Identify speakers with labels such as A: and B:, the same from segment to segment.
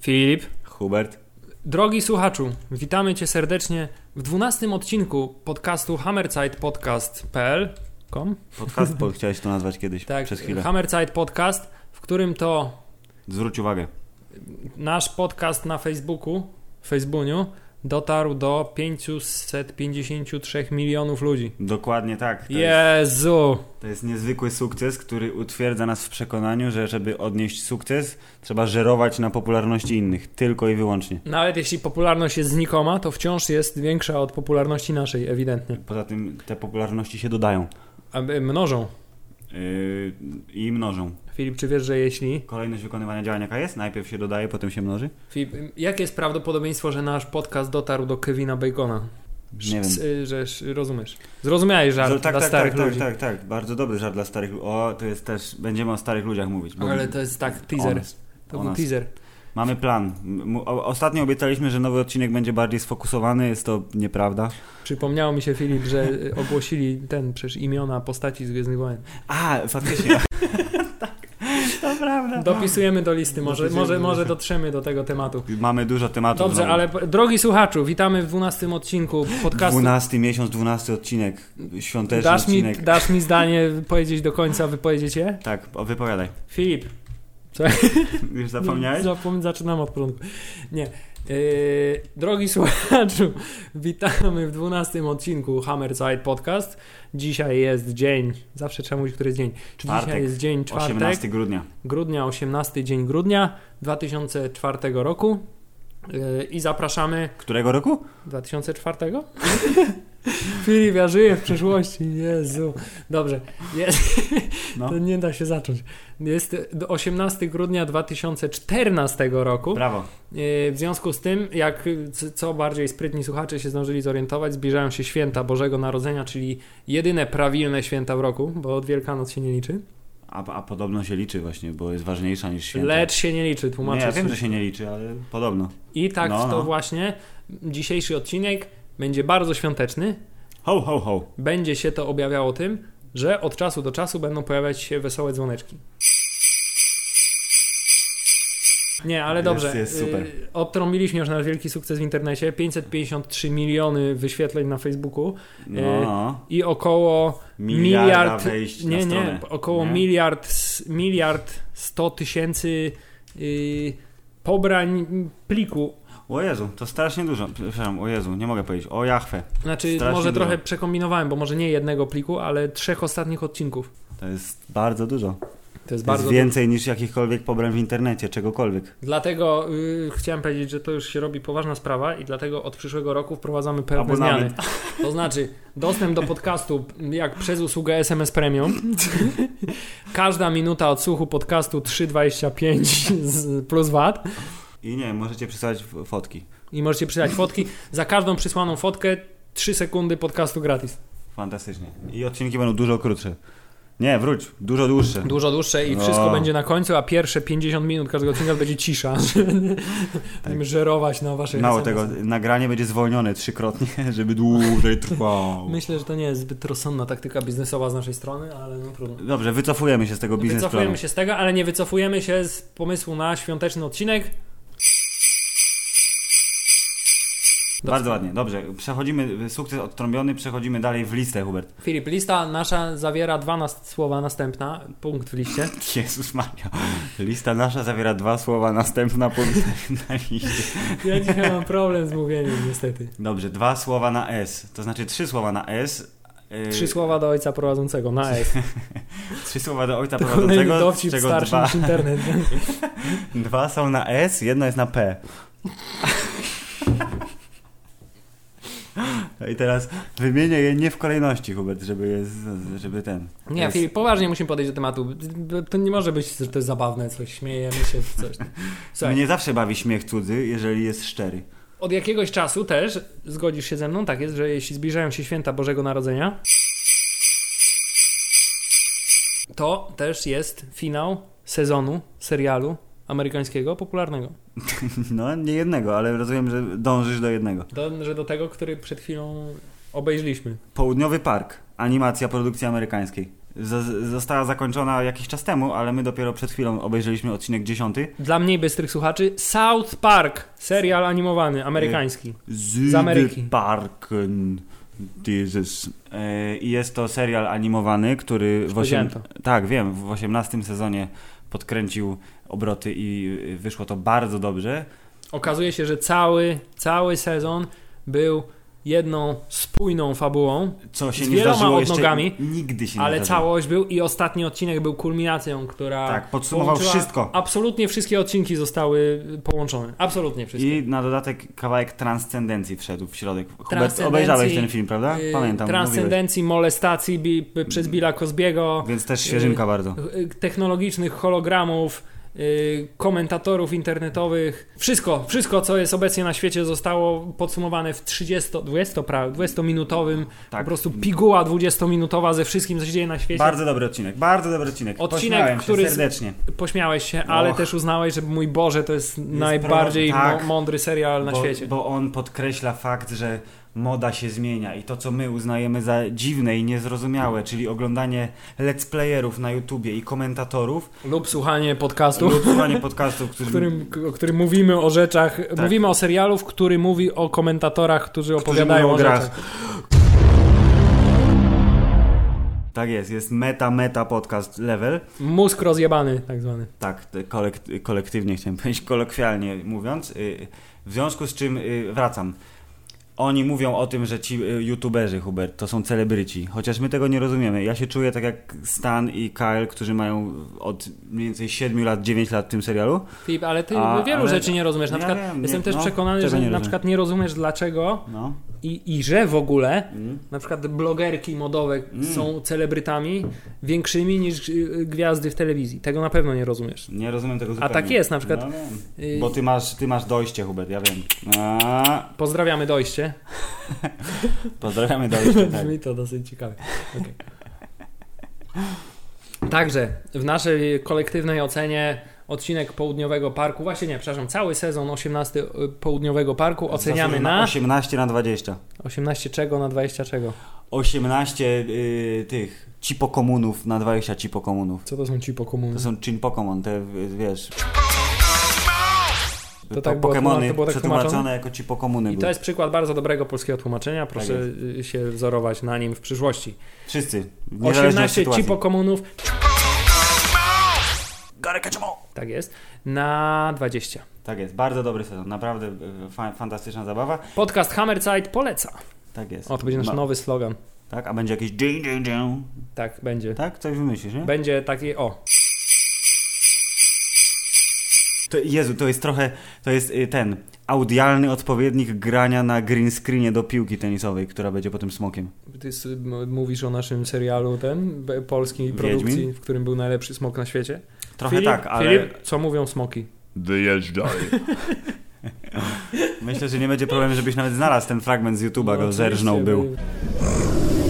A: Filip.
B: Hubert.
A: Drogi słuchaczu, witamy Cię serdecznie w 12 odcinku podcastu hammerzeitpodcast.pl. Kom?
B: Podcast, bo chciałeś to nazwać kiedyś
A: Tak,
B: przez chwilę.
A: Hammerzeit Podcast, w którym to
B: Zwróć uwagę.
A: nasz podcast na Facebooku, Facebooniu, dotarł do 553 milionów ludzi.
B: Dokładnie tak. To, jest,
A: Jezu!
B: to jest niezwykły sukces, który utwierdza nas w przekonaniu, że żeby odnieść sukces, trzeba żerować na popularności innych. Tylko i wyłącznie.
A: Nawet jeśli popularność jest znikoma, to wciąż jest większa od popularności naszej, ewidentnie.
B: Poza tym te popularności się dodają
A: A, y, Mnożą.
B: yy, i mnożą.
A: Filip, czy wiesz, że jeśli
B: Kolejność wykonywania działań jaka jest? Najpierw się dodaje, potem się mnoży?
A: Filip, jakie jest prawdopodobieństwo, że nasz podcast dotarł do Kevina Bacona?
B: Nie
A: S-
B: wiem.
A: y, Że sz- rozumiesz. Zrozumiałeś żart
B: Zo- tak,
A: dla
B: tak,
A: starych
B: tak,
A: ludzi.
B: tak, tak, tak. Bardzo dobry żart dla starych ludzi. O, to jest też, będziemy o starych ludziach mówić. bo-
A: Ale to jest tak,
B: o
A: teaser.
B: nas.
A: To
B: o
A: był
B: nas.
A: teaser.
B: Mamy plan. M- o- Ostatnio obiecaliśmy, że nowy odcinek będzie bardziej sfokusowany, jest to nieprawda.
A: Przypomniało mi się, Filip, że y, ogłosili ten, przecież imiona postaci z Gwiezdnych Wojen.
B: A, faktycznie. tak, to prawda.
A: Dopisujemy do listy, może,
B: Dopisujemy
A: może,
B: do
A: może
B: listy.
A: dotrzemy do tego tematu.
B: Mamy dużo tematów. no,
A: Dobrze,
B: znowu.
A: ale p- drogi słuchaczu, witamy w 12 odcinku podcastu.
B: 12 miesiąc, 12 odcinek, świąteczny
A: Dasz mi,
B: odcinek.
A: dasz mi zdanie powiedzieć do końca, wypowiedzieć je?
B: Tak, o, wypowiadaj.
A: Filip,
B: Już zapomniałeś?
A: Zapom- zaczynam od początku. Nie. Yy, drogi słuchaczu, witamy w 12 odcinku Hammerside Podcast. Dzisiaj jest dzień, zawsze trzeba mówić, który jest dzień. Dzisiaj
B: Czwartek.
A: jest dzień czwartek,
B: 18 grudnia.
A: grudnia, 18 dzień grudnia 2004 roku. Yy, I zapraszamy
B: Którego roku?
A: 2004? Filip, ja żyję w przeszłości, Jezu. Dobrze, jest,
B: No.
A: to nie da się zacząć. Jest 18 grudnia 2014 roku.
B: Brawo.
A: Yy, W związku z tym, jak y, c- co bardziej sprytni słuchacze się zdążyli zorientować, zbliżają się święta Bożego Narodzenia, czyli jedyne prawilne święta w roku, bo od Wielkanoc się nie liczy.
B: A, a podobno się liczy właśnie, bo jest ważniejsza niż święta.
A: Lecz się nie liczy,
B: Nie,
A: tłumaczę.
B: ja
A: ci.
B: wiem, że się nie liczy, ale podobno.
A: I tak
B: No,
A: to
B: no.
A: właśnie dzisiejszy odcinek będzie bardzo świąteczny.
B: Ho, ho, ho.
A: Będzie się to objawiało tym, że od czasu do czasu będą pojawiać się wesołe dzwoneczki. Nie, ale
B: Jest-
A: dobrze.
B: jest super.
A: Y, Odtrąbiliśmy już nasz wielki sukces w internecie. 553 miliony wyświetleń na Facebooku.
B: No, no.
A: i około
B: Miliarda
A: E, miliard
B: wejść
A: nie,
B: na
A: nie,
B: stronę.
A: około
B: nie?
A: miliard s- miliard 100 tysięcy y, pobrań pliku.
B: O Jezu, to strasznie dużo. Przepraszam, o Jezu, nie mogę powiedzieć. O Jachwę.
A: Znaczy
B: Strasznie
A: może
B: dużo.
A: trochę przekombinowałem, bo może nie jednego pliku, ale trzech ostatnich odcinków.
B: To jest bardzo dużo. To
A: To jest
B: jest
A: bardzo
B: więcej niż jakichkolwiek pobrań w internecie, czegokolwiek.
A: Dlatego y, chciałem powiedzieć, że to już się robi poważna sprawa i dlatego od przyszłego roku wprowadzamy pewne
B: Abonament.
A: zmiany. To znaczy dostęp do podcastu jak przez usługę SMS Premium. Każda minuta odsłuchu podcastu 3,25 z- plus VAT
B: I nie, możecie przysłać f- fotki.
A: i możecie przydać fotki. Za każdą przysłaną fotkę 3 sekundy podcastu gratis.
B: Fantastycznie. I odcinki będą dużo krótsze. Nie, wróć, dużo dłuższe.
A: Dużo dłuższe i
B: No.
A: wszystko będzie na końcu, a pierwsze 50 minut każdego odcinka będzie cisza. Będziemy żerować na wasze
B: Tak. Mało
A: SMS.
B: tego, nagranie będzie zwolnione trzykrotnie, żeby dłużej trwało.
A: Myślę, że to nie jest zbyt rozsądna taktyka biznesowa z naszej strony, ale no trudno.
B: Dobrze, wycofujemy się z tego biznesplanu.
A: Wycofujemy się z tego, ale nie wycofujemy się z pomysłu na świąteczny odcinek.
B: Bardzo ładnie, dobrze. Przechodzimy, sukces odtrąbiony, przechodzimy dalej w listę, Hubert.
A: Filip, lista nasza zawiera dwa nas słowa następna, punkt w liście.
B: Jezus Maria. Lista nasza zawiera dwa słowa, następna punkt na liście.
A: Ja dzisiaj mam problem z mówieniem, niestety.
B: Dobrze, dwa słowa na S, to znaczy trzy słowa na S. yy,
A: Trzy słowa do ojca prowadzącego, na S.
B: trzy słowa do ojca
A: To kolejny
B: prowadzącego,
A: dowcip
B: z czego
A: starszy
B: dwa,
A: niż internet.
B: dwa są na S, jedno jest na P. No I teraz wymienię je nie w kolejności, Hubert, żeby, je, z- żeby ten.
A: Nie,
B: jest,
A: Filip, poważnie musimy podejść do tematu. To nie może być, że to jest zabawne, coś śmiejemy się, coś. Słuchaj,
B: Mnie zawsze bawi śmiech cudzy, jeżeli jest szczery.
A: Od jakiegoś czasu też, zgodzisz się ze mną, tak jest, że jeśli zbliżają się święta Bożego Narodzenia, to też jest finał sezonu serialu amerykańskiego popularnego.
B: No, nie jednego, ale rozumiem, że dążysz do jednego.
A: Do, że do tego, który przed chwilą obejrzeliśmy.
B: Południowy Park, animacja produkcji amerykańskiej. z- została zakończona jakiś czas temu, ale my dopiero przed chwilą obejrzeliśmy odcinek 10.
A: Dla mniej bystrych słuchaczy, South Park, serial animowany, amerykański. Z Ameryki.
B: Parken. Jesus. E, I jest to serial animowany, który w osiem...
A: Powiedziałem to.
B: Tak, wiem, w 18 sezonie podkręcił obroty i y, wyszło to bardzo dobrze.
A: Okazuje się, że cały, cały sezon był jedną spójną fabułą,
B: Co się
A: Z
B: nie
A: wieloma
B: zdarzyło jeszcze
A: odnogami,
B: nigdy się nie
A: ale
B: zdarzyło.
A: całość był i ostatni odcinek był kulminacją, która
B: Tak, podsumował
A: połączyła-
B: wszystko.
A: Absolutnie wszystkie odcinki zostały połączone. Absolutnie wszystkie.
B: I na dodatek kawałek transcendencji wszedł w środek. Hubert,
A: Transcendencji,
B: obejrzałeś ten film, prawda?
A: Y,
B: tak, Pamiętam, mówiłeś.
A: Transcendencji, molestacji bi, p- przez Billa Cosbiego,
B: Więc też świeżynka bardzo.
A: y, technologicznych hologramów, y, komentatorów internetowych. Wszystko, wszystko, co jest obecnie na świecie zostało podsumowane w 30, 20, pra- 20-minutowym,
B: Tak.
A: po prostu piguła 20-minutowa ze wszystkim, co się dzieje na świecie.
B: Bardzo dobry odcinek, bardzo dobry odcinek.
A: Odcinek,
B: Pośmiałem
A: który
B: się
A: z-
B: serdecznie.
A: Pośmiałeś się, ale
B: Och.
A: też uznałeś, że mój Boże, to jest, najbardziej
B: pro- tak.
A: mo- mądry serial na
B: bo,
A: świecie.
B: Bo on podkreśla fakt, że moda się zmienia i to, co my uznajemy za dziwne i niezrozumiałe, czyli oglądanie let's playerów na YouTubie i komentatorów
A: Lub słuchanie podcastu.
B: lub słuchanie podcastów,
A: w
B: którzy...
A: którym, o którym mówimy o rzeczach, mówimy o serialu, w którym mówi o komentatorach, Tak. którzy opowiadają
B: mówią
A: o
B: o grach.
A: rzeczach.
B: Tak jest, jest meta, meta podcast level.
A: Mózg rozjebany, tak zwany.
B: Tak, te kolek- kolektywnie chciałem powiedzieć, kolokwialnie mówiąc. y, W związku z czym y, wracam. Oni mówią o tym, że ci y, youtuberzy, Hubert, to są celebryci. Chociaż my tego nie rozumiemy. Ja się czuję tak jak Stan i Kyle, którzy mają od mniej więcej 7 lat, 9 lat w tym serialu.
A: Filip, ale ty
B: A,
A: wielu
B: ale-
A: rzeczy nie rozumiesz. Na
B: Ja
A: przykład
B: wiem, nie-
A: jestem też
B: no,
A: przekonany,
B: czego
A: że
B: nie
A: na
B: rozumiem?
A: przykład nie rozumiesz dlaczego
B: No.
A: i, i że w ogóle
B: Mm.
A: na przykład blogerki modowe są celebrytami większymi niż y, gwiazdy w telewizji. Tego na pewno nie rozumiesz.
B: Nie rozumiem tego zupełnie.
A: tak jest, na przykład-
B: No, wiem.
A: Y,
B: Bo ty masz, ty masz dojście, Hubert, ja wiem. A,
A: Pozdrawiamy dojście.
B: pozdrawiamy dojście, tak.
A: Brzmi to dosyć ciekawie. Okej. Także w naszej kolektywnej ocenie odcinek Południowego Parku, właśnie nie, przepraszam, cały sezon 18 y, Południowego Parku oceniamy
B: Zasłużył
A: na
B: 18 na 20.
A: 18 czego na 20 czego.
B: 18 y, tych cipokomunów na 20 cipokomunów.
A: Co to są ci pokomuny?
B: To są chin Pokémon, te y, wiesz.
A: To tak było tłumaczone-
B: Pokemony
A: to było tak
B: przetłumaczone
A: tłumaczone?
B: jako ci Pokomuny.
A: I to jest przykład bardzo dobrego polskiego tłumaczenia.
B: Tak
A: Proszę y, się wzorować na nim w przyszłości.
B: Wszyscy. niezależnie od
A: 18
B: sytuacji.
A: cipokomunów,
B: Gotta catch 'em all.
A: tak jest, na 20.
B: Tak jest, bardzo dobry sezon, naprawdę y, fa fantastyczna zabawa.
A: Podcast Hammerzeit poleca.
B: Tak jest.
A: O, to będzie nasz
B: Ma-
A: nowy slogan.
B: Tak, a będzie jakiś dżing, dżing, dżing.
A: Tak, będzie.
B: Tak, coś wymyślisz, nie?
A: Będzie taki, o,
B: To, Jezu, to jest trochę, to jest y, ten audialny odpowiednik grania na green screenie do piłki tenisowej, która będzie potem smokiem.
A: Ty s- m- mówisz o naszym serialu ten, be- polskiej
B: Wiedźmin?
A: produkcji, w którym był najlepszy smok na świecie.
B: Trochę
A: Filip,
B: tak, ale
A: Filip, co mówią smoki?
C: Wyjeżdżaj.
B: myślę, że nie będzie problemu, żebyś nawet znalazł ten fragment z YouTube'a, go zerżnął
A: No, oczywiście,
B: był.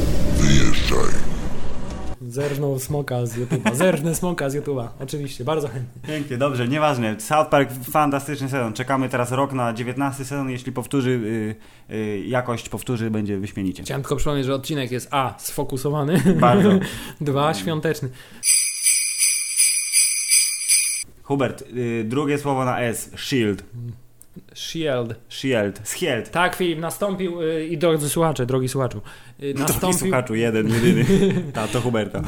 A: Zerżnął smoka z YouTube'a. Zerżnę smoka z YouTube'a. Oczywiście, bardzo chętnie.
B: Pięknie, dobrze, nieważne. South Park, fantastyczny sezon. Czekamy teraz rok na 19 sezon. Jeśli powtórzy, y, y, jakość powtórzy, będzie wyśmienicie.
A: Chciałem tylko przypomnieć, że odcinek jest A. Sfokusowany.
B: Bardzo. Mm.
A: Dwa. Świąteczny.
B: Hubert, y, drugie słowo na S. Shield.
A: Shield.
B: Shield. Shield.
A: Tak, Filip, nastąpił, y, i drodzy słuchacze, drogi słuchaczu, y,
B: Drogi
A: nastąpił,
B: słuchaczu, jeden, jedyny. Ta, to Huberta.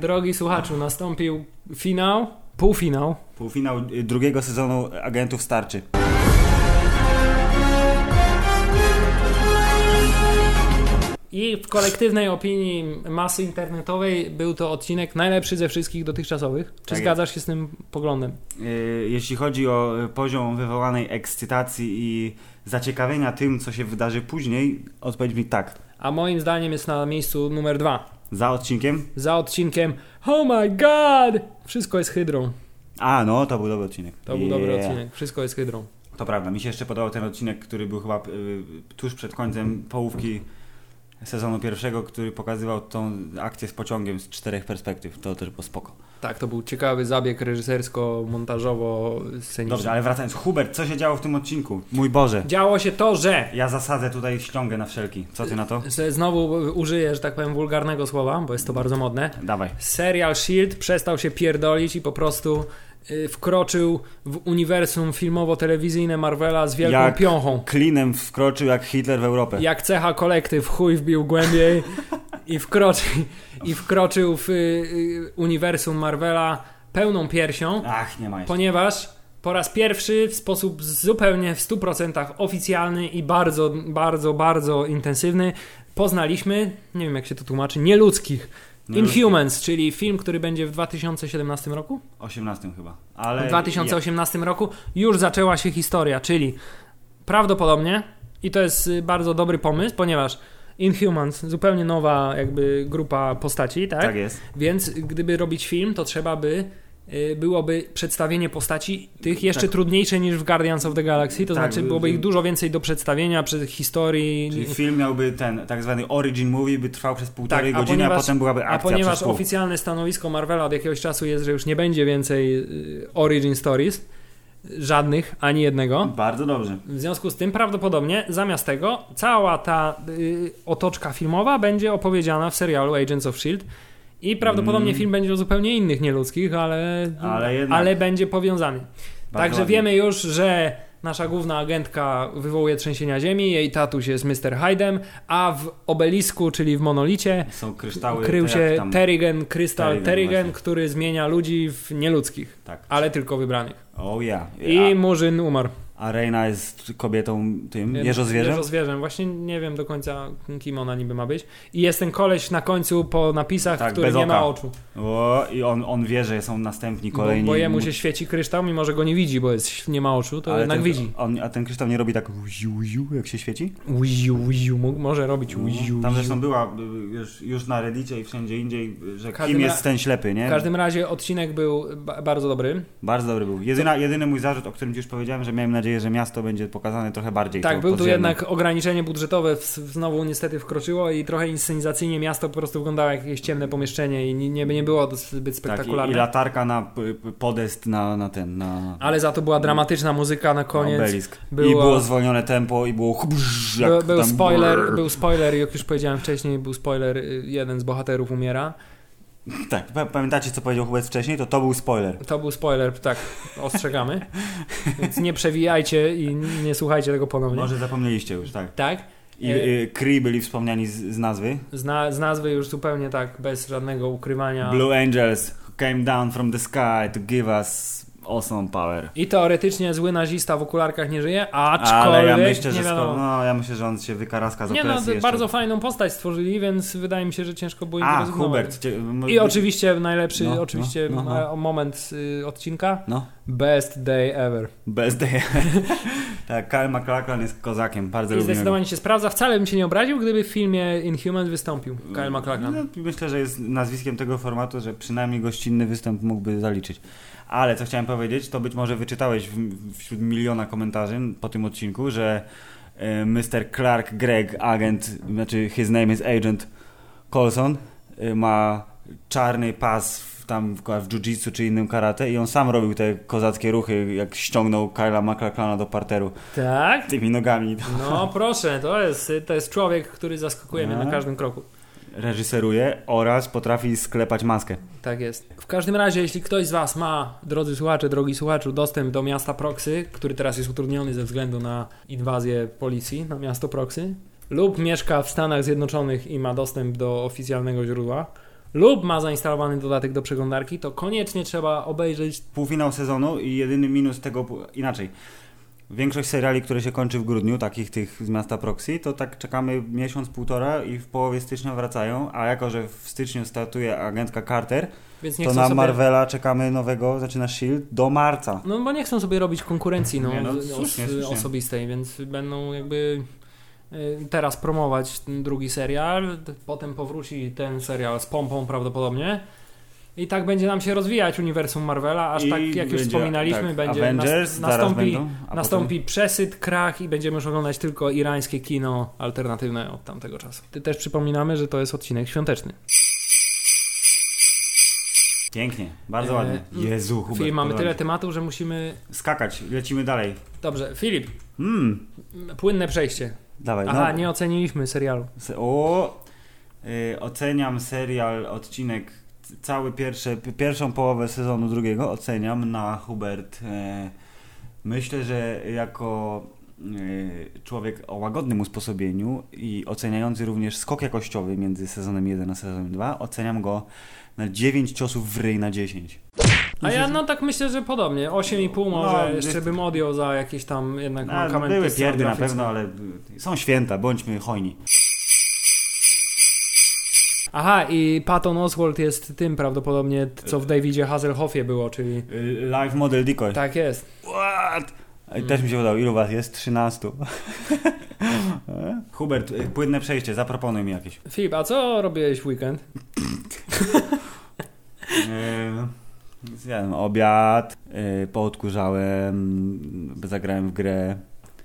A: drogi słuchaczu, nastąpił finał, półfinał,
B: Półfinał y, drugiego sezonu Agentów Starczy.
A: I w kolektywnej opinii masy internetowej był to odcinek najlepszy ze wszystkich dotychczasowych. Czy
B: Tak
A: zgadzasz się z tym poglądem?
B: Y, Jeśli chodzi o y, poziom wywołanej ekscytacji i zaciekawienia tym, co się wydarzy później, odpowiedź mi tak.
A: A moim zdaniem jest na miejscu numer dwa.
B: Za odcinkiem?
A: Za odcinkiem Oh my god! Wszystko jest hydrą.
B: A, no, to był dobry odcinek.
A: To był dobry
B: Yeah.
A: odcinek. Wszystko jest hydrą.
B: To prawda, mi się jeszcze podobał ten odcinek, który był chyba y, tuż przed końcem połówki sezonu pierwszego, który pokazywał tą akcję z pociągiem z czterech perspektyw. To też było spoko.
A: Tak, to był ciekawy zabieg reżysersko-montażowo-sceniczny.
B: Dobrze, ale wracając. Hubert, co się działo w tym odcinku? Mój Boże.
A: Działo się to, że
B: Ja zasadzę tutaj ściągę na wszelki. Co ty na to?
A: że znowu użyję, że tak powiem, wulgarnego słowa, bo jest to bardzo modne.
B: Dawaj.
A: Serial Shield E przestał się pierdolić i po prostu y, wkroczył w uniwersum filmowo-telewizyjne Marvela z wielką
B: Jak-
A: piąchą.
B: Klinem wkroczył jak Hitler w Europę.
A: Jak cecha kolektyw chuj wbił głębiej i, wkroczy, i wkroczył w y, y, uniwersum Marvela pełną piersią,
B: Ach, nie ma jeszcze.
A: ponieważ po raz pierwszy w sposób zupełnie w 100% oficjalny i bardzo, bardzo, bardzo intensywny poznaliśmy, nie wiem jak się to tłumaczy, nieludzkich.
B: Nieludzkich.
A: Inhumans, czyli film, który będzie w 2017 roku?
B: 18 chyba. Ale
A: w 2018 roku już zaczęła się historia, czyli prawdopodobnie, i to jest y, bardzo dobry pomysł, ponieważ Inhumans, zupełnie nowa jakby grupa postaci, tak?
B: Tak? tak jest.
A: Więc gdyby robić film, to trzeba by y, byłoby przedstawienie postaci tych jeszcze
B: Tak.
A: trudniejsze niż w Guardians of the Galaxy, to
B: Tak,
A: znaczy
B: by-
A: byłoby
B: by-
A: ich dużo więcej do przedstawienia przez historii.
B: Czyli film miałby ten tak zwany origin movie, by trwał przez półtorej
A: Tak, a
B: godziny,
A: ponieważ-
B: a potem byłaby
A: A
B: akcja
A: ponieważ
B: przez pół.
A: oficjalne stanowisko Marvela od jakiegoś czasu jest, że już nie będzie więcej y, Origin Stories, żadnych, ani jednego,
B: Bardzo dobrze.
A: w związku z tym prawdopodobnie zamiast tego cała ta y, otoczka filmowa będzie opowiedziana w serialu Agents of Shield i prawdopodobnie
B: Mm.
A: film będzie o zupełnie innych nieludzkich, ale,
B: Ale jednak.
A: ale będzie powiązany.
B: Bardzo
A: Także
B: ładnie.
A: wiemy już, że nasza główna agentka wywołuje trzęsienia ziemi, jej tatuś jest Mr. Hyde'em, a w obelisku, czyli w monolicie,
B: Są kryształy.
A: krył
B: te jak
A: się
B: tam-
A: Terrigen, krystal
B: Terrigen,
A: Terrigen,
B: właśnie.
A: który zmienia ludzi w nieludzkich,
B: Tak.
A: ale tylko wybranych.
B: O ja.
A: I Murzyn umarł.
B: A, a Reina jest kobietą tym, jeżozwierzę?
A: Jeżozwierzę. Właśnie nie wiem do końca, kim ona niby ma być. I jest ten koleś na końcu po napisach,
B: Tak,
A: który
B: bez
A: nie ma
B: oka.
A: oczu.
B: O, i on, on wie, że są następni, kolejni.
A: Bo, bo jemu się świeci kryształ, mimo że go nie widzi, bo jest, nie ma oczu, to
B: Ale
A: jednak
B: ten,
A: widzi.
B: On, a ten kryształ nie robi tak uziu, uziu, jak się świeci?
A: Uziu, uziu, mógł- może robić uziu,
B: No, Tam
A: uziu.
B: zresztą była y, już, już na Reddicie i wszędzie indziej, y, że
A: Każdym
B: kim
A: ra-
B: jest ten ślepy, nie?
A: W każdym razie odcinek był ba- bardzo dobry.
B: Bardzo dobry był. Jedyna, jedyny mój zarzut, o którym ci już powiedziałem, że miałem nadzieję, że miasto będzie pokazane trochę bardziej.
A: Tak,
B: to
A: był tu
B: podziemne.
A: jednak ograniczenie budżetowe, w, znowu niestety wkroczyło i trochę inscenizacyjnie miasto po prostu wyglądało jak jakieś ciemne pomieszczenie i nie, nie było to zbyt
B: Tak, i,
A: spektakularne.
B: I latarka na p- p- podest na, na ten, na,
A: Ale za to była dramatyczna muzyka na
B: na
A: koniec.
B: obelisk. I
A: była-
B: było zwolnione tempo i było chbrz, jak
A: Był, był
B: tam
A: spoiler,
B: brrr.
A: był spoiler, jak już powiedziałem wcześniej, był spoiler, y, jeden z bohaterów umiera.
B: Tak, pa- pamiętacie co powiedział Hubert wcześniej? To to był spoiler.
A: To był spoiler, tak, ostrzegamy. Więc nie przewijajcie i nie słuchajcie tego ponownie.
B: Może zapomnieliście już, tak.
A: Tak,
B: I y, Kree byli wspomniani z, z nazwy.
A: z, na, z nazwy już zupełnie tak, bez żadnego ukrywania.
B: Blue Angels came down from the sky to give us awesome power.
A: I teoretycznie zły nazista w okularkach nie żyje, aczkolwiek
B: Ale ja myślę,
A: nie
B: że
A: wiadomo.
B: skoro, no, ja myślę, że on się wykaraska z
A: Nie no,
B: opresji jeszcze.
A: bardzo fajną postać stworzyli, więc wydaje mi się, że ciężko było im
B: A,
A: porezygnować.
B: Hubert. Cie, m-
A: I oczywiście najlepszy
B: No, no,
A: oczywiście
B: no, no.
A: e, moment y, odcinka.
B: No.
A: Best day ever.
B: Bez de... tak, Kyle MacLachlan jest kozakiem, bardzo
A: I
B: lubię go.
A: zdecydowanie się sprawdza. Wcale bym się nie obraził, gdyby w filmie Inhuman wystąpił Kyle MacLachlan.
B: No, myślę, że jest nazwiskiem tego formatu, że przynajmniej gościnny występ mógłby zaliczyć. Ale co chciałem powiedzieć, to być może wyczytałeś w, wśród miliona komentarzy po tym odcinku, że e, Mr. Clark Gregg, agent, znaczy his name is agent Colson, e, ma czarny pas w, tam w, w jiu-jitsu czy innym karate i on sam robił te kozackie ruchy, jak ściągnął Kyla McLachlana do parteru
A: Tak?
B: tymi nogami.
A: No proszę, to jest, to jest człowiek, który zaskakuje mnie
B: No.
A: na każdym kroku.
B: Reżyseruje oraz potrafi sklepać maskę.
A: Tak jest. W każdym razie, jeśli ktoś z Was ma, drodzy słuchacze, drogi słuchaczu, dostęp do miasta Proxy, który teraz jest utrudniony ze względu na inwazję policji na miasto Proxy, lub mieszka w Stanach Zjednoczonych i ma dostęp do oficjalnego źródła, lub ma zainstalowany dodatek do przeglądarki, to koniecznie trzeba obejrzeć
B: półfinał sezonu i jedyny minus tego, inaczej, większość seriali, które się kończy w grudniu, takich tych z miasta Proxy, to tak czekamy miesiąc, półtora i w połowie stycznia wracają, a jako, że w styczniu startuje agentka Carter,
A: Więc nie
B: to
A: chcą
B: na
A: sobie...
B: Marvela czekamy nowego, zaczyna S.H.I.E.L.D. E do marca.
A: No bo nie chcą sobie robić konkurencji no,
B: Nie, no,
A: z-
B: słusznie,
A: os-
B: słusznie.
A: osobistej, więc będą jakby y, teraz promować ten drugi serial, t- potem powróci ten serial z pompą prawdopodobnie. I tak będzie nam się rozwijać uniwersum Marvela, aż
B: I
A: tak jak już
B: będzie,
A: wspominaliśmy,
B: tak,
A: będzie nas,
B: Avengers,
A: nastąpi,
B: zaraz będą, a
A: nastąpi przesyt, krach i będziemy już oglądać tylko irańskie kino alternatywne od tamtego czasu. Ty też przypominamy, że to jest odcinek świąteczny.
B: Pięknie, bardzo
A: E,
B: ładnie.
A: mm.
B: Jezu, Hubert.
A: Filip, mamy
B: podoba mi
A: tyle
B: się.
A: tematów, że musimy...
B: Skakać, lecimy dalej.
A: Dobrze, Filip,
B: Mm,
A: m, płynne przejście.
B: dawaj.
A: Aha,
B: no.
A: nie oceniliśmy serialu.
B: Se- O, y, oceniam serial, odcinek, c- cały pierwsze, p- pierwszą połowę sezonu drugiego oceniam na Hubert. E, myślę, że jako y, człowiek o łagodnym usposobieniu i oceniający również skok jakościowy między sezonem 1 a sezonem 2, oceniam go na 9 ciosów w ryj na 10.
A: A ja no tak myślę, że podobnie. 8,5 może
B: No,
A: jeszcze
B: jest-
A: bym odjął za jakieś tam jednak
B: No,
A: mankamenty
B: były pierdy na
A: scenograficzne.
B: pewno, ale y, są święta, bądźmy hojni.
A: Aha, i Patton Oswald jest tym prawdopodobnie, t- co w Davidzie Hasselhoffie było, czyli...
B: Y, Live Model Decoy.
A: Tak jest.
B: What? I
A: Mm.
B: Też mi się wydało, ilu was jest? 13. Hubert, y, płynne przejście, zaproponuj mi jakieś.
A: Filip, a co robiłeś w weekend?
B: Yy, Zjadłem obiad, yy, poodkurzałem, zagrałem w grę.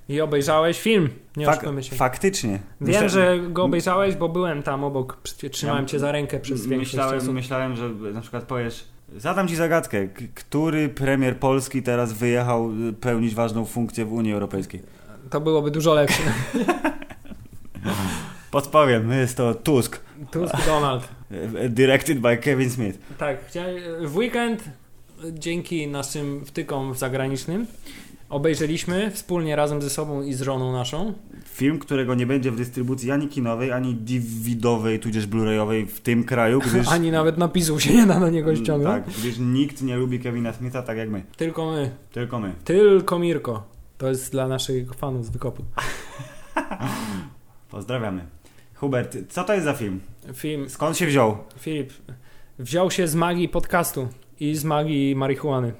A: I obejrzałeś film, nie
B: Fak-
A: oszukujmy się.
B: faktycznie.
A: Wiem,
B: Myśla-
A: że go obejrzałeś, bo byłem tam obok, przy- trzymałem cię za rękę przez większość
B: myślałem,
A: czasu.
B: myślałem, że na przykład powiesz, zadam ci zagadkę, K- który premier Polski teraz wyjechał y, pełnić ważną funkcję w Unii Europejskiej?
A: To byłoby dużo lepsze.
B: Podpowiem, jest to Tusk,
A: Tusk Donald.
B: y, directed by Kevin Smith.
A: Tak, chciałem- w weekend y, dzięki naszym wtykom zagranicznym obejrzeliśmy wspólnie razem ze sobą i z żoną naszą.
B: Film, którego nie będzie w dystrybucji ani kinowej, ani DVDowej, tudzież Blu-rayowej w tym kraju, gdyż...
A: Ani nawet napisu się nie da na niego ściągnąć.
B: Tak, gdyż nikt nie lubi Kevina Smitha tak jak my.
A: Tylko my.
B: Tylko my.
A: Tylko Mirko. To jest dla naszych fanów z wykopu.
B: Pozdrawiamy. Hubert, co to jest za film?
A: Film,
B: Skąd się wziął?
A: Filip wziął się z magii podcastu i z magii marihuany.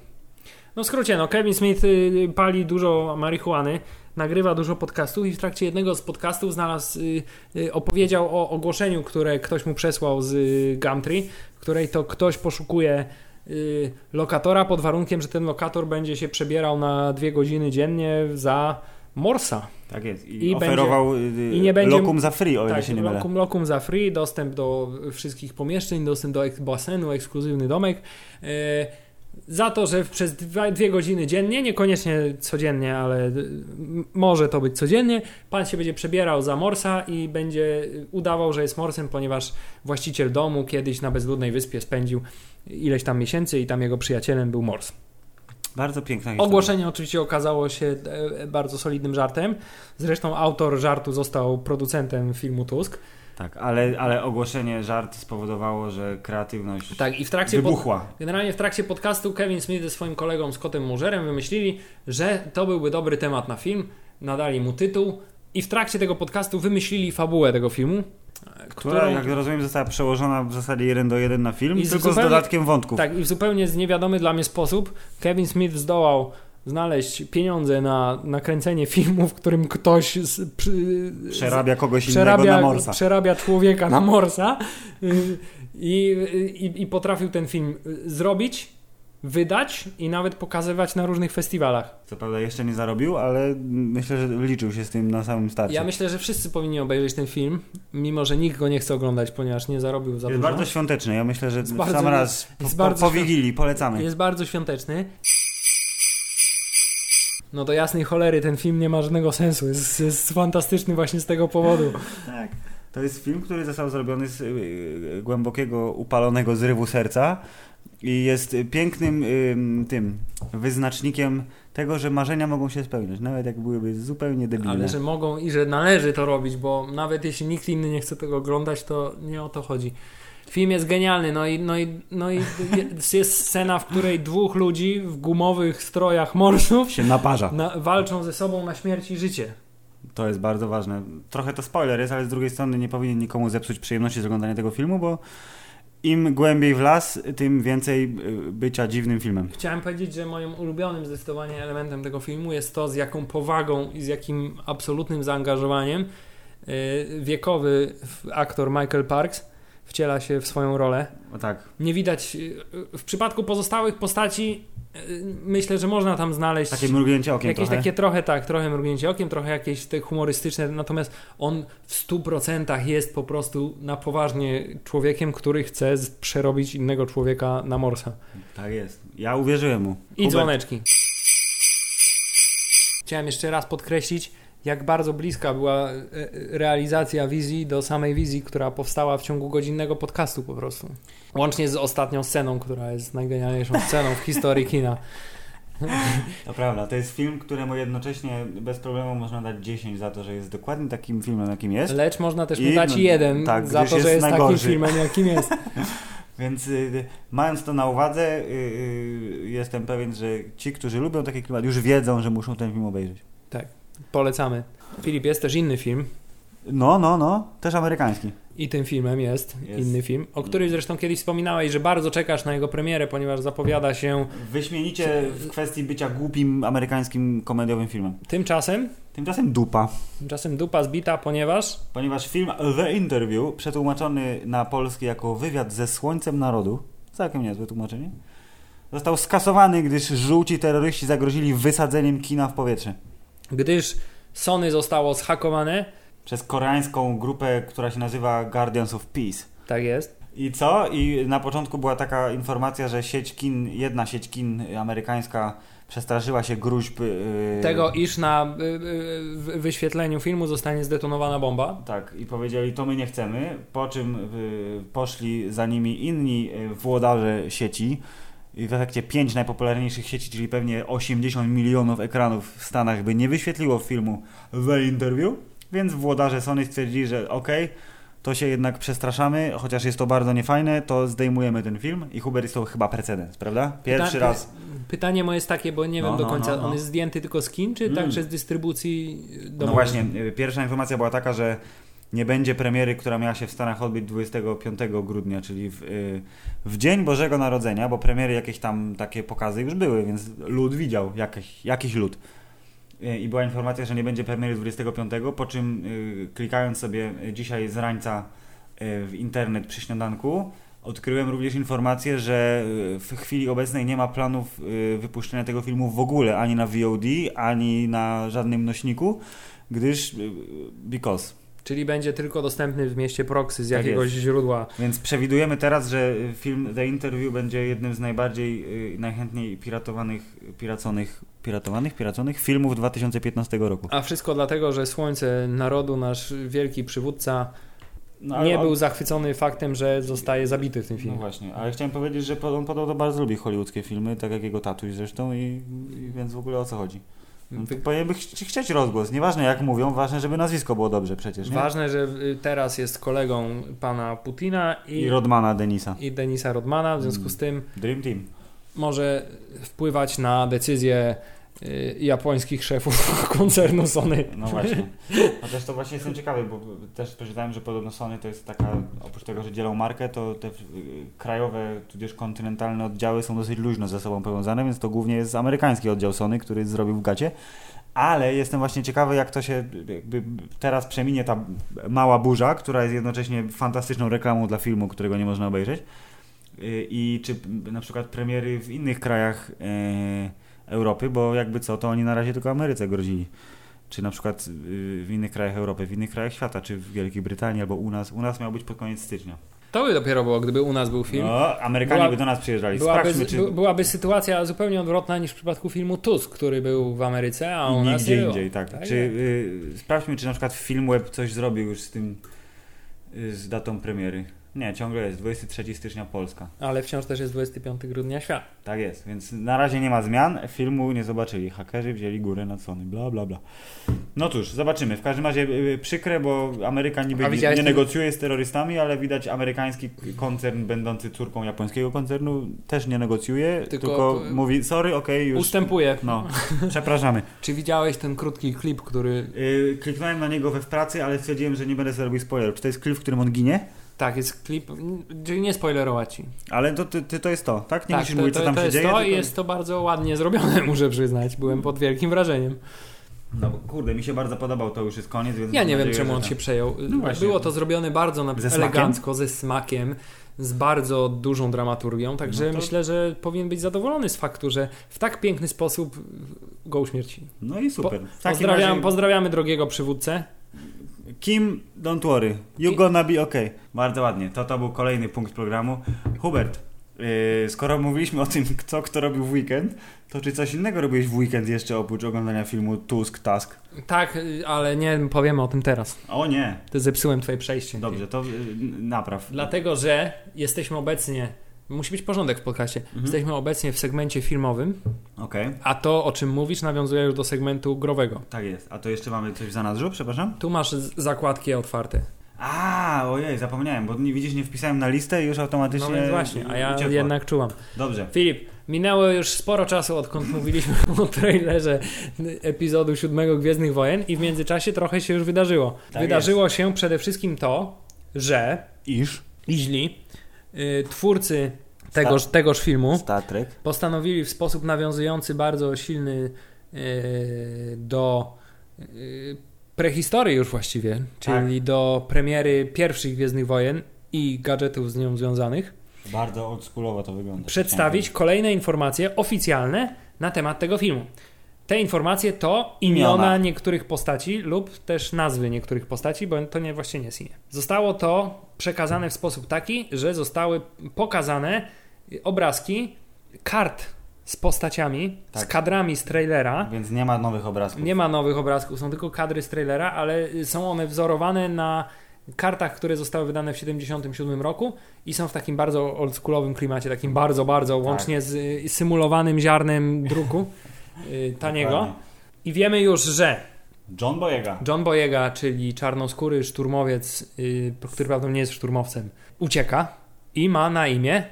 A: No w skrócie, no Kevin Smith y, pali dużo marihuany, nagrywa dużo podcastów i w trakcie jednego z podcastów znalazł, y, y, opowiedział o ogłoszeniu, które ktoś mu przesłał z y, Gumtree, w której to ktoś poszukuje y, lokatora pod warunkiem, że ten lokator będzie się przebierał na dwie godziny dziennie za morsa.
B: Tak jest. I,
A: I
B: oferował y,
A: i nie będzie-
B: lokum za free, o ile
A: Tak,
B: się nie mylę.
A: lokum, lokum za free, dostęp do wszystkich pomieszczeń, dostęp do ek- basenu, ekskluzywny domek. E, za to, że przez dwa, dwie godziny dziennie, niekoniecznie codziennie, ale y, m- może to być codziennie, pan się będzie przebierał za morsa i będzie udawał, że jest morsem, ponieważ właściciel domu kiedyś na bezludnej wyspie spędził ileś tam miesięcy i tam jego przyjacielem był mors.
B: Bardzo piękna historia.
A: Ogłoszenie oczywiście okazało się e, bardzo solidnym żartem. Zresztą autor żartu został producentem filmu Tusk.
B: Tak, ale, ale ogłoszenie, żart spowodowało, że kreatywność
A: Tak, i w trakcie. Pod...
B: wybuchła.
A: Generalnie w trakcie podcastu Kevin Smith ze swoim kolegą Scottem Murzerem wymyślili, że to byłby dobry temat na film, nadali mu tytuł i w trakcie tego podcastu wymyślili fabułę tego filmu, e,
B: Która, jak rozumiem, została przełożona w zasadzie 1 do 1 na film,
A: I
B: tylko z
A: zupełnie-
B: dodatkiem wątków.
A: Tak, i w zupełnie z niewiadomy dla mnie sposób Kevin Smith zdołał znaleźć pieniądze na nakręcenie filmu, w którym ktoś z, przy,
B: Przerabia kogoś innego
A: przerabia,
B: na morsa. No.
A: przerabia człowieka na morsa y, i, i, i potrafił ten film y, zrobić, wydać i nawet pokazywać na różnych festiwalach.
B: Co prawda jeszcze nie zarobił, ale myślę, że liczył się z tym na samym starcie.
A: Ja myślę, że wszyscy powinni obejrzeć ten film, mimo że nikt go nie chce oglądać, ponieważ nie zarobił za
B: jest
A: dużo.
B: bardzo świąteczny. Ja myślę, że
A: Jest
B: w
A: bardzo-
B: sam raz po,
A: jest
B: po,
A: bardzo
B: po
A: świąt-
B: Wigilii polecamy.
A: Jest bardzo świąteczny. No do jasnej cholery ten film nie ma żadnego sensu. Jest, jest fantastyczny właśnie z tego powodu.
B: Tak. To jest film, który został zrobiony z y, y, głębokiego, upalonego zrywu serca i jest y, pięknym y, tym wyznacznikiem tego, że marzenia mogą się spełniać, nawet jak byłyby zupełnie debilne.
A: Ale że mogą i że należy to robić, bo nawet jeśli nikt inny nie chce tego oglądać, to nie o to chodzi. Film jest genialny, no i, no i, no i jest- jest scena, w której dwóch ludzi w gumowych strojach morsów
B: Się naparza.
A: na, walczą ze sobą na śmierć i życie.
B: To jest bardzo ważne. Trochę to spoiler jest, ale z drugiej strony nie powinien nikomu zepsuć przyjemności z oglądania tego filmu, bo im głębiej w las, tym więcej y, bycia dziwnym filmem.
A: Chciałem powiedzieć, że moim ulubionym zdecydowanie elementem tego filmu jest to, z jaką powagą i z jakim absolutnym zaangażowaniem y, wiekowy f- aktor Michael Parks wciela się w swoją rolę.
B: O tak.
A: Nie widać, y, y, w przypadku pozostałych postaci y, myślę, że można tam znaleźć
B: Takie mrugnięcie okiem
A: jakieś
B: trochę.
A: takie trochę tak, trochę mrugnięcie okiem, trochę jakieś te humorystyczne, natomiast on w 100% jest po prostu na poważnie człowiekiem, który chce z- przerobić innego człowieka na morsa.
B: Tak jest. Ja uwierzyłem mu.
A: I dzwoneczki. Chciałem jeszcze raz podkreślić, jak bardzo bliska była e, e, realizacja wizji do samej wizji, która powstała w ciągu godzinnego podcastu po prostu. Łącznie z ostatnią sceną, która jest najgenialniejszą sceną w historii kina.
B: To prawda, to jest film, któremu jednocześnie bez problemu można dać 10 za to, że jest dokładnie takim filmem, jakim jest.
A: Lecz można też mu
B: I-
A: dać
B: no,
A: jeden
B: tak,
A: za
B: gdyż
A: to, że
B: jest
A: jest takim
B: najgorszy.
A: filmem, jakim jest.
B: Więc y, mając to na uwadze, y, y, jestem pewien, że ci, którzy lubią taki klimat, już wiedzą, że muszą ten film obejrzeć.
A: Polecamy. Filip, jest też inny film.
B: No, no, no, też amerykański.
A: I tym filmem jest,
B: Jest.
A: inny film, o którym zresztą kiedyś wspominałeś, że bardzo czekasz na jego premierę, ponieważ zapowiada się
B: Wyśmienicie w kwestii bycia głupim amerykańskim komediowym filmem.
A: tymczasem,
B: Tymczasem dupa,
A: tymczasem dupa zbita, ponieważ
B: ponieważ film The Interview, przetłumaczony na polski jako wywiad ze Słońcem Narodu, całkiem niezłe tłumaczenie, został skasowany, gdyż żółci terroryści zagrozili wysadzeniem kina w powietrze.
A: gdyż Sony zostało zhakowane,
B: Przez koreańską grupę, która się nazywa Guardians of Peace.
A: tak jest,
B: I co? I na początku była taka informacja, że sieć kin, jedna sieć kin amerykańska przestraszyła się gruźb. Yy,
A: tego iż na y, y, w- wyświetleniu filmu zostanie zdetonowana bomba.
B: Tak, i powiedzieli, to my nie chcemy. Po czym yy, poszli za nimi inni yy, włodarze sieci. I w efekcie pięć najpopularniejszych sieci, czyli pewnie 80 milionów ekranów w Stanach, by nie wyświetliło filmu The Interview. Więc włodarze Sony stwierdzili, że okej, to się jednak przestraszamy, chociaż jest to bardzo niefajne, to zdejmujemy ten film. I Hubert jest to chyba precedens, prawda? Pierwszy
A: Pyta-
B: raz.
A: Pytanie moje jest takie, bo nie
B: No,
A: wiem do
B: no,
A: końca,
B: no, no.
A: on jest zdjęty tylko z kin, czy
B: Mm.
A: także z dystrybucji domowej?
B: No właśnie, y, pierwsza informacja była taka, że nie będzie premiery, która miała się w Stanach odbyć 25 grudnia, czyli w, y, w Dzień Bożego Narodzenia, bo premiery jakieś tam takie pokazy już były, więc lud widział, jakiś, jakiś lud. Y, I była informacja, że nie będzie premiery 25, po czym y, klikając sobie dzisiaj z rańca y, w internet przy śniadanku, odkryłem również informację, że y, w chwili obecnej nie ma planów y, wypuszczenia tego filmu w ogóle, ani na VOD, ani na żadnym nośniku gdyż y, because.
A: Czyli będzie tylko dostępny w mieście Proxy z
B: Tak
A: jakiegoś źródła.
B: Więc przewidujemy teraz, że film The Interview będzie jednym z najbardziej y, najchętniej piratowanych, piraconych, piratowanych, piraconych filmów 2015 roku.
A: A wszystko dlatego, że Słońce Narodu, nasz wielki przywódca,
B: No, ale
A: nie
B: on-
A: był zachwycony faktem, że zostaje zabity w tym
B: No
A: filmie.
B: właśnie, ale chciałem powiedzieć, że po- on podobno bardzo lubi hollywoodzkie filmy, tak jak jego tatuś zresztą i, i więc w ogóle o co chodzi. No, to
A: Wy-
B: powinien by chci- chcieć rozgłos, nieważne jak mówią, ważne, żeby nazwisko było dobrze przecież, nie?
A: Ważne, że y, teraz jest kolegą pana Putina i,
B: I Rodmana Denisa.
A: i Denisa Rodmana, w związku
B: No. Mm.
A: z tym
B: Dream Team.
A: może wpływać na decyzje y, japońskich szefów koncernu Sony.
B: No właśnie. Chociaż to właśnie jestem ciekawy, bo też przeczytałem, że podobno Sony to jest taka, oprócz tego, że dzielą markę, to te y, krajowe, tudzież kontynentalne oddziały są dosyć luźno ze sobą powiązane, więc to głównie jest amerykański oddział Sony, który zrobił w gacie. Ale jestem właśnie ciekawy, jak to się jakby teraz przeminie ta mała burza, która jest jednocześnie fantastyczną reklamą dla filmu, którego nie można obejrzeć. Y, I czy na przykład premiery w innych krajach y, Europy, bo jakby co, to oni na razie tylko Ameryce grozili czy na przykład y, w innych krajach Europy, w innych krajach świata, czy w Wielkiej Brytanii, albo u nas. U nas miał być pod koniec stycznia.
A: To by dopiero było, gdyby u nas był film.
B: No, Amerykanie
A: Była-
B: by do nas przyjeżdżali.
A: Byłaby,
B: Sprawdźmy, czy
A: by- byłaby sytuacja zupełnie odwrotna niż w przypadku filmu Tusk, który był w Ameryce, a u
B: i
A: nas nie
B: nigdzie
A: było.
B: indziej, tak.
A: Tak
B: czy, y, sprawdźmy, czy na przykład Filmweb coś zrobił już z tym, y, z datą premiery. Nie, ciągle jest 23 stycznia Polska.
A: Ale wciąż też jest 25 grudnia świat.
B: Tak jest, więc na razie nie ma zmian. Filmu nie zobaczyli. Hakerzy wzięli górę nad Sony, bla, bla, bla. No cóż, zobaczymy. W każdym razie y, przykre, bo Ameryka niby
A: A
B: nie,
A: widziałeś
B: nie
A: ten-
B: negocjuje z terrorystami, ale widać amerykański k- koncern będący córką japońskiego koncernu też nie negocjuje,
A: Tylko
B: tylko,
A: p-
B: mówi sorry, okej, już.
A: Ustępuję.
B: No, przepraszamy.
A: Czy widziałeś ten krótki klip, który...
B: Y, kliknąłem na niego we w pracy, ale stwierdziłem, że nie będę sobie robił spoilerów. Czy to jest klip, w którym on ginie?
A: Tak, jest klip, czyli nie spoilerować ci.
B: Ale to, ty, ty, to jest to, tak? Nie
A: tak,
B: musisz
A: to,
B: mówić,
A: to,
B: co tam
A: to
B: się
A: jest
B: dzieje.
A: to i
B: tylko-
A: jest to bardzo ładnie zrobione, muszę przyznać. Byłem pod wielkim wrażeniem.
B: No bo kurde, mi się bardzo podobał, to już jest koniec. Więc
A: Ja
B: mam
A: nie wiem,
B: nadzieję,
A: czemu
B: że
A: on
B: tak.
A: się przejął.
B: No właśnie.
A: Było to zrobione bardzo na...
B: Ze smakiem?
A: elegancko, ze smakiem, z bardzo dużą dramaturgią, także
B: No to-
A: myślę, że powinien być zadowolony z faktu, że w tak piękny sposób go uśmierci.
B: No i super. W takim
A: Pozdrawiam,
B: razie-
A: Pozdrawiamy drogiego przywódcę.
B: Kim, don't worry, you
A: Ki-
B: gonna be okay. Bardzo ładnie, to to był kolejny punkt programu. Hubert, yy, skoro mówiliśmy o tym, co kto robił w weekend, to czy coś innego robiłeś w weekend jeszcze oprócz oglądania filmu Tusk Task?
A: Tak, y, ale nie powiemy o tym teraz.
B: O nie,
A: Ty zepsułem twoje przejście.
B: dobrze, to yy, napraw.
A: Dlatego, że jesteśmy obecnie, musi być porządek w podcaście,
B: Mhm.
A: jesteśmy obecnie w segmencie filmowym,
B: Okej,
A: a to, o czym mówisz, nawiązuje już do segmentu growego.
B: tak jest. A to jeszcze mamy coś w zanadrzu, przepraszam?
A: Tu masz z- zakładki otwarte.
B: A, ojej, zapomniałem, bo nie, widzisz, nie wpisałem na listę i już automatycznie
A: No więc właśnie, a ja
B: uciekło.
A: jednak czułam.
B: Dobrze,
A: Filip, minęło już sporo czasu, odkąd mówiliśmy o trailerze epizodu siódmego Gwiezdnych Wojen i w międzyczasie trochę się już wydarzyło.
B: Tak
A: wydarzyło się przede wszystkim to, że
B: iż
A: Iźli, y, twórcy tegoż, tegoż filmu,
B: Star Trek.
A: postanowili w sposób nawiązujący bardzo silny y, do y, prehistorii już właściwie, czyli
B: Tak.
A: do premiery pierwszych Gwiezdnych Wojen i gadżetów z nią związanych,
B: Bardzo oldschoolowo to wygląda.
A: przedstawić kolejne informacje oficjalne na temat tego filmu. Te informacje to imiona,
B: Imiona.
A: niektórych postaci lub też nazwy niektórych postaci, bo to nie właśnie nie jest imię. Zostało to przekazane w sposób taki, że zostały pokazane obrazki kart z postaciami, z
B: Tak.
A: kadrami z trailera.
B: Więc nie ma nowych obrazków.
A: Nie ma nowych obrazków, są tylko kadry z trailera, ale są one wzorowane na kartach, które zostały wydane w 77 roku i są w takim bardzo oldschoolowym klimacie, takim bardzo, bardzo, łącznie z y, symulowanym ziarnem druku y, taniego.
B: Dokładnie.
A: I wiemy już, że
B: John Boyega.
A: John Boyega, czyli czarnoskóry szturmowiec, y, który prawdopodobnie nie jest szturmowcem, ucieka i ma na imię,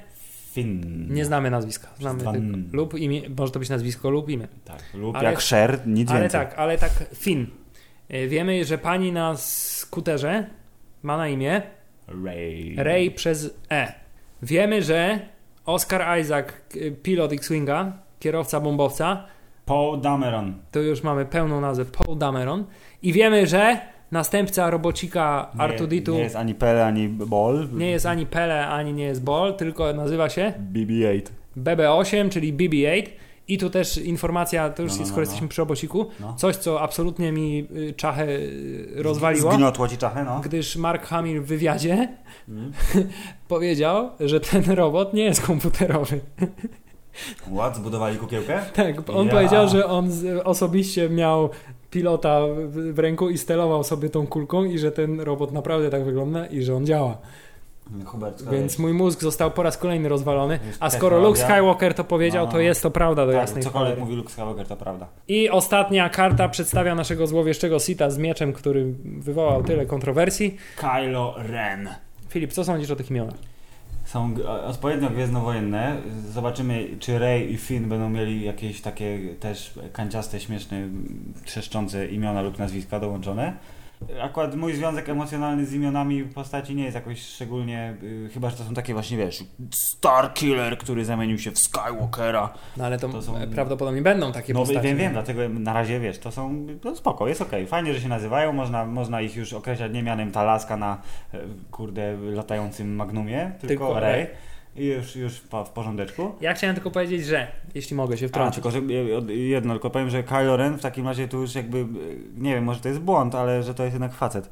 B: Finn.
A: nie znamy nazwiska, znamy
B: Dwa
A: tylko,
B: N.
A: lub imię, może to być nazwisko lub imię.
B: Tak, lub
A: Ale-
B: jak Sher, nic
A: Ale
B: więcej.
A: tak, ale tak, Finn. Y, Wiemy, że pani na skuterze ma na imię
B: Ray.
A: Ray przez E. Wiemy, że Oscar Isaac, y, pilot X-Winga, kierowca bombowca,
B: Paul Dameron.
A: to już mamy pełną nazwę Paul Dameron. I wiemy, że następca robocika
B: Nie-
A: Artuditu
B: Nie
A: nie,
B: jest ani Pele, ani Ball.
A: jest ani Pele, ani nie jest Ball, tylko nazywa się
B: BB-8.
A: BB8, czyli BB8. I tu też informacja, to już
B: No, no,
A: skoro
B: no, no.
A: jesteśmy przy robociku,
B: No.
A: coś co absolutnie mi y, czachę y, rozwaliło.
B: Zgniotło ci czachę, no.
A: gdyż Mark Hamill w wywiadzie Mhm.
B: Mm.
A: powiedział, że ten robot nie jest komputerowy.
B: Ład, zbudowali kukiełkę?
A: Tak, on
B: Ja.
A: powiedział, że on z, osobiście miał pilota w, w ręku i stelował sobie tą kulką i że ten robot naprawdę tak wygląda i że on działa.
B: Hubert,
A: Więc mój mózg został po raz kolejny rozwalony.
B: Jest
A: A skoro Luke
B: technologia.
A: Skywalker to powiedział,
B: No.
A: to jest to prawda do
B: tak,
A: jasnej
B: cokolwiek
A: cholery.
B: mówi Luke Skywalker, to prawda.
A: I ostatnia karta przedstawia naszego złowieszczego Sita z mieczem, który wywołał tyle kontrowersji.
B: Kylo Ren.
A: Filip, co sądzisz o tych imionach?
B: Są g- odpowiednio gwiezdnowojenne. Zobaczymy, czy Rey i Finn będą mieli jakieś takie też kanciaste, śmieszne, m, trzeszczące imiona lub nazwiska dołączone. Akurat mój związek emocjonalny z imionami postaci nie jest jakoś szczególnie, y, chyba że to są takie właśnie, wiesz, Star Killer, który zamienił się w Skywalkera.
A: No ale to,
B: To są-
A: e, prawdopodobnie będą takie
B: No
A: postacie.
B: wiem, wiem, dlatego na razie, wiesz, to są, no spoko, jest okej, fajnie, że się nazywają, można, można ich już określać nie mianem Talaska na, e, kurde, latającym Magnumie, tylko,
A: Tylko
B: Rey.
A: Rey.
B: I już, już pa- w porządeczku.
A: Ja chciałem tylko powiedzieć, że jeśli mogę się
B: A,
A: wtrącić.
B: tylko że e, od- jedno, tylko powiem, że Kylo Ren w takim razie tu już jakby, e, nie wiem, może to jest błąd, ale że to jest jednak facet.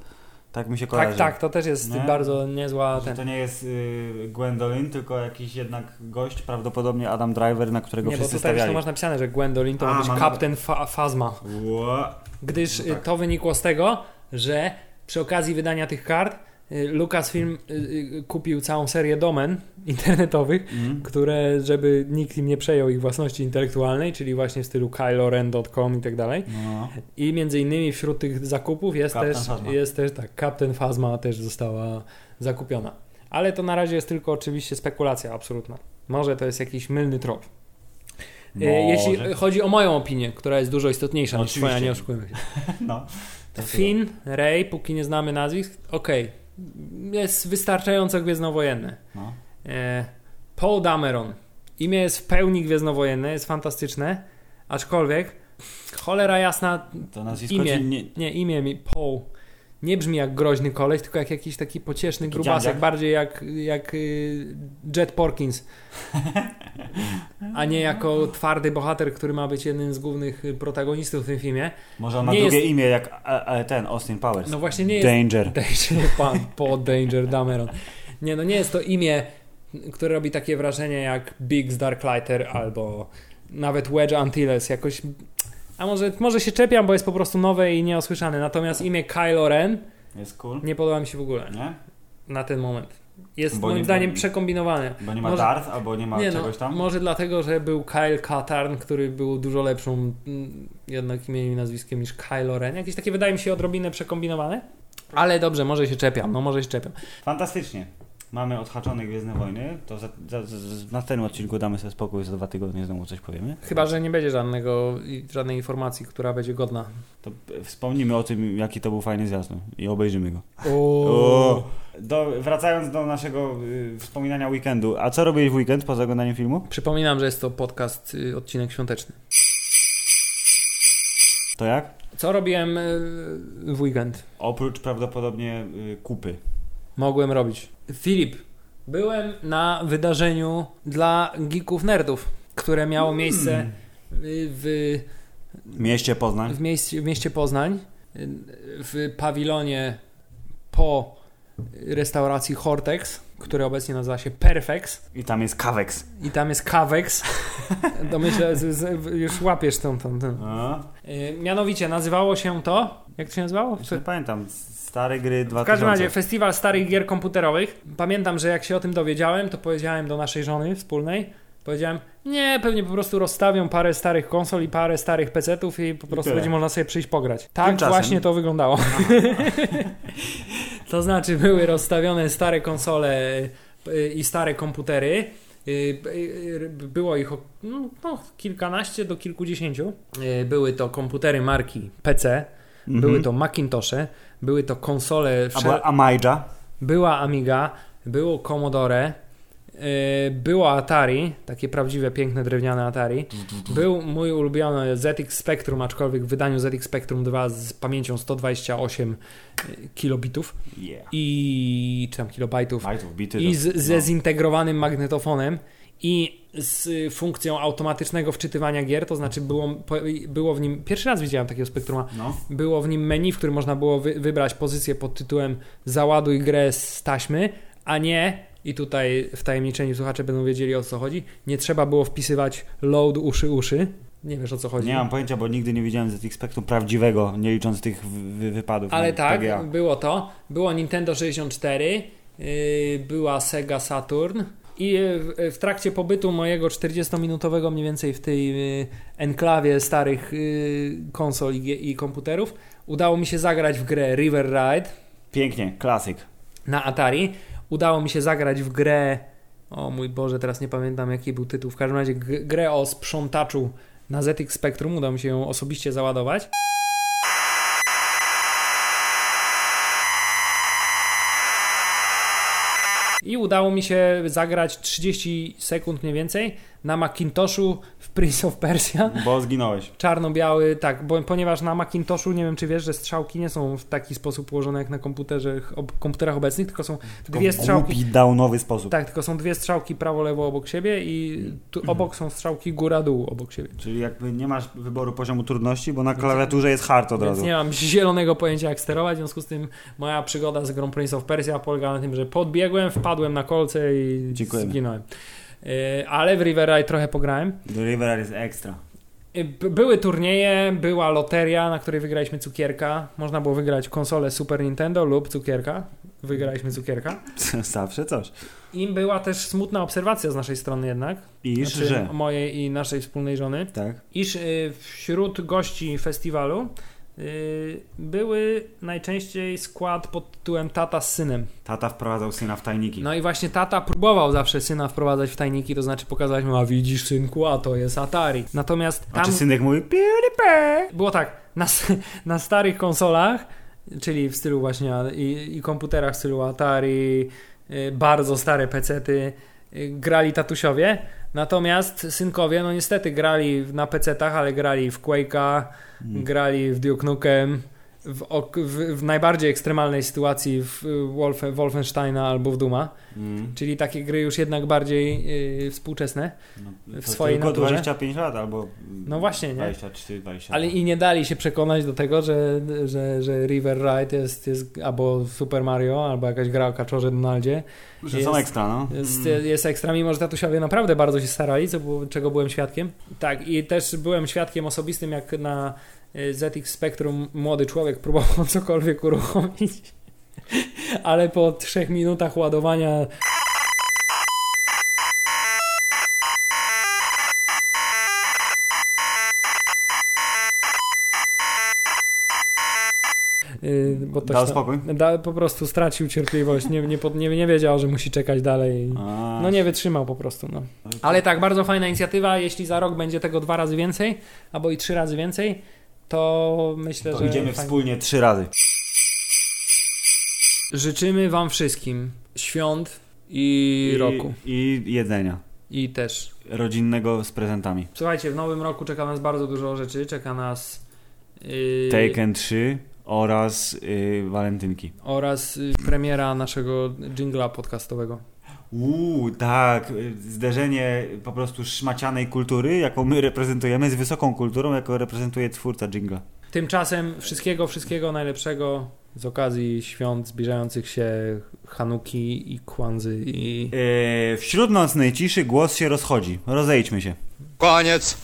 B: Tak mi się
A: tak,
B: kojarzy.
A: tak, to też jest
B: Nie?
A: bardzo niezła
B: No. Że
A: ten.
B: to nie jest y, Gwendolyn, tylko jakiś jednak gość, prawdopodobnie Adam Driver, na którego
A: Nie, bo
B: wszyscy
A: tutaj zresztą
B: stawiali.
A: masz napisane, że Gwendolyn to
B: A,
A: ma być
B: mam-
A: Captain Fa- Phasma.
B: Ło-
A: Gdyż
B: No tak.
A: y, to wynikło z tego, że przy okazji wydania tych kart y, Lucasfilm y, y, kupił całą serię domen internetowych,
B: Mm.
A: które, żeby nikt im nie przejął ich własności intelektualnej, czyli właśnie w stylu kyloren.com i tak dalej.
B: No.
A: I między innymi wśród tych zakupów jest
B: Captain
A: też,
B: Phasma.
A: jest też tak, Captain Phasma też została zakupiona. Ale to na razie jest tylko oczywiście spekulacja absolutna. Może to jest jakiś mylny trop. E,
B: Może.
A: Jeśli chodzi o moją opinię, która jest dużo istotniejsza niż
B: Oczywiście.
A: twoja, nie oszukujmy się.
B: No. To
A: Finn, Rey, póki nie znamy nazwisk, okej. Jest wystarczająco gwiezdnowojenne.
B: No.
A: E, Paul Dameron. Imię jest w pełni gwiezdnowojenne, jest fantastyczne, aczkolwiek cholera jasna,
B: To nazwisko
A: Imię.
B: ci nie...
A: nie, imię mi Paul nie brzmi jak groźny koleś, tylko jak jakiś taki pocieszny
B: Taki
A: grubasek,
B: dziadziak?
A: bardziej jak, jak y, Jet Porkins. A nie jako twardy bohater, który ma być jednym z głównych y, protagonistów w tym filmie.
B: Może on ma
A: Nie
B: drugie
A: jest-
B: imię jak a, a, ten Austin Powers.
A: No właśnie nie jest
B: Danger.
A: Danger, pan po Danger Dameron. Nie, no nie jest to imię, które robi takie wrażenie jak Biggs Dark Lighter albo nawet Wedge Antilles. Jakoś. A może, może się czepiam, bo jest po prostu nowe i nieosłyszane. Natomiast imię Kylo Ren
B: Jest cool.
A: nie podoba mi się w ogóle
B: Nie?
A: na ten moment. Jest
B: Bo
A: moim
B: nie-
A: zdaniem przekombinowane.
B: Bo nie ma
A: Może- no,
B: Darth albo nie ma czegoś tam.
A: Może dlatego, że był Kyle Katarn, który był dużo lepszą mm, jednak imieniem i nazwiskiem niż Kylo Ren. Jakieś takie wydaje mi się odrobinę przekombinowane. Ale dobrze, może się czepiam, no może się czepiam.
B: Fantastycznie. Mamy odhaczone Gwiezdne Wojny. To za, za, za, w następnym odcinku damy sobie spokój, za dwa tygodnie znowu coś powiemy.
A: Chyba, że nie będzie żadnego, żadnej informacji, która będzie godna.
B: To e, wspomnimy o tym, jaki to był fajny zjazd no, i obejrzymy go.
A: O.
B: Do, wracając do naszego y, wspominania weekendu. A co robiłeś w weekend poza oglądaniem filmu?
A: Przypominam, że jest to podcast, y, odcinek świąteczny.
B: To jak?
A: Co robiłem y, w weekend?
B: Oprócz prawdopodobnie y, kupy.
A: Mogłem robić. Filip, byłem na wydarzeniu dla geeków nerdów, które miało miejsce y, w
B: Mieście Poznań.
A: w mieście, w mieście Poznań, y, w pawilonie po restauracji Hortex, który obecnie nazywa się Perfex
B: I tam jest Kawex.
A: i tam jest Kawex. Domyślę, z, z, już łapiesz tą, tą, tą.
B: A,
A: Y, Mianowicie nazywało się to, jak to się nazywało?
B: już nie pamiętam. Stare gry 2000.
A: W każdym razie festiwal starych gier komputerowych. Pamiętam, że jak się o tym dowiedziałem, to powiedziałem do naszej żony wspólnej, powiedziałem, nie, pewnie po prostu rozstawią parę starych konsol i parę starych PC-ów i po prostu
B: tyle.
A: będzie można sobie przyjść pograć. Tak
B: Tymczasem-
A: właśnie to wyglądało. to znaczy były rozstawione stare konsole y, i stare komputery. Y, y, y, Było ich o- no, no, kilkanaście do kilkudziesięciu. Y, Były to komputery marki PC,
B: Mhm.
A: były to Macintosze, były to konsole.
B: A
A: Wszel...
B: była Amajdża.
A: Była Amiga, było Commodore, yy, było Atari, takie prawdziwe, piękne, drewniane Atari. Był mój ulubiony ZX Spectrum, aczkolwiek w wydaniu ZX Spectrum 2 z pamięcią 128 y, kilobitów
B: Yeah.
A: i czy tam kilobajtów
B: Bajtów, bity. no.
A: i
B: to-
A: z, ze zintegrowanym magnetofonem i z y, funkcją automatycznego wczytywania gier, to znaczy było, po- było w nim, pierwszy raz widziałem takiego Spectruma,
B: No.
A: było w nim menu, w którym można było wy, wybrać pozycję pod tytułem Załaduj grę z taśmy, a nie, i tutaj wtajemniczeni słuchacze będą wiedzieli o co chodzi, nie trzeba było wpisywać load uszy uszy. Nie wiesz o co chodzi.
B: Nie mam pojęcia, bo nigdy nie widziałem ZX Spectrum prawdziwego, nie licząc tych wy wypadów. no,
A: Ale
B: na
A: tak,
B: PGA.
A: było to. Było Nintendo 64, yy, była Sega Saturn. I y, w, w trakcie pobytu mojego 40-minutowego mniej więcej w tej yy, enklawie starych yy, konsol i, gie- i komputerów udało mi się zagrać w grę River Ride.
B: Pięknie, klasyk.
A: na Atari. Udało mi się zagrać w grę. O mój Boże, teraz nie pamiętam jaki był tytuł. W każdym razie g- grę o sprzątaczu na ZX Spectrum. Udało mi się ją osobiście załadować. I udało mi się zagrać 30 sekund mniej więcej na Macintoshu w Prince of Persia.
B: Bo zginąłeś.
A: Czarno-biały, tak, bo, ponieważ na Macintoshu nie wiem, czy wiesz, że strzałki nie są w taki sposób ułożone jak na komputerze, ob, komputerach obecnych, tylko są dwie strzałki.
B: Głupi, downowy sposób.
A: Tak, tylko są dwie strzałki prawo-lewo obok siebie i tu
B: Mhm.
A: obok są strzałki góra-dół obok siebie.
B: Czyli jakby nie masz wyboru poziomu trudności, bo na klawiaturze jest hard od
A: Więc
B: razu.
A: nie mam zielonego pojęcia jak sterować, w związku z tym moja przygoda z grą Prince of Persia polegała na tym, że podbiegłem, wpadłem na kolce i
B: Dziękujemy.
A: zginąłem. Yy, Ale w River Ride trochę pograłem.
B: The River jest ekstra.
A: Y, B- Były turnieje, była loteria, na której wygraliśmy cukierka. Można było wygrać konsolę Super Nintendo lub cukierka. Wygraliśmy cukierka.
B: Zawsze coś.
A: I była też smutna obserwacja z naszej strony jednak.
B: Iż,
A: Znaczy,
B: że.
A: Mojej i naszej wspólnej żony.
B: Tak.
A: Iż y, wśród gości festiwalu y, były najczęściej skład pod tytułem Tata z synem.
B: Tata wprowadzał syna w tajniki.
A: No i właśnie tata próbował zawsze syna wprowadzać w tajniki, to znaczy pokazać mu, a widzisz synku, a to jest Atari. Natomiast
B: A
A: tam...
B: czy synek mówi PewDiePie?
A: było tak, na, s- na starych konsolach, czyli w stylu właśnie a- i, i komputerach w stylu Atari, y, bardzo stare pecety, y, grali tatusiowie, Natomiast synkowie, no niestety grali w- na PC-tach, ale grali w Quake'a,
B: Hmm.
A: grali w Duke Nukem, w, ok- w, w najbardziej ekstremalnej sytuacji w y, Wolfe, Wolfensteina albo w Duma,
B: Mm.
A: czyli takie gry już jednak bardziej y, współczesne.
B: No,
A: W
B: to
A: swojej
B: tylko
A: naturze.
B: 25 lat albo
A: No właśnie, nie?
B: 23, 24.
A: Ale i nie dali się przekonać do tego, że, że, że River Ride jest, jest albo Super Mario, albo jakaś gra o kaczorze Donaldzie
B: Że
A: jest-
B: są ekstra, no.
A: jest,
B: Mm.
A: jest ekstra, mimo że tatusiowie naprawdę bardzo się starali, co było, czego byłem świadkiem. Tak, i też byłem świadkiem osobistym, jak na y, ZX Spectrum młody człowiek próbował cokolwiek uruchomić, ale po trzech minutach ładowania y, bo to
B: Dał
A: się-
B: spokój?
A: Da, po prostu stracił cierpliwość, nie, nie, pod- nie, nie wiedział, że musi czekać dalej.
B: A,
A: No nie wytrzymał po prostu. No. Ale tak, bardzo fajna inicjatywa. Jeśli za rok będzie tego dwa razy więcej, albo i trzy razy więcej, to myślę,
B: to
A: że.
B: idziemy
A: fajnie.
B: wspólnie trzy razy.
A: Życzymy Wam wszystkim świąt i, roku.
B: I jedzenia.
A: I też.
B: Rodzinnego z prezentami.
A: Słuchajcie, w nowym roku czeka nas bardzo dużo rzeczy. Czeka nas. Yy,
B: Taken 3 oraz y, walentynki.
A: Oraz yy, premiera naszego jingla podcastowego.
B: Uuu, tak, y, zderzenie po prostu szmacianej kultury, jaką my reprezentujemy, z wysoką kulturą, jaką reprezentuje twórca jingla.
A: Tymczasem wszystkiego, wszystkiego najlepszego z okazji świąt zbliżających się Hanuki i Kwanzy i
B: Y, wśród nocnej ciszy głos się rozchodzi. Rozejdźmy się.
C: Koniec.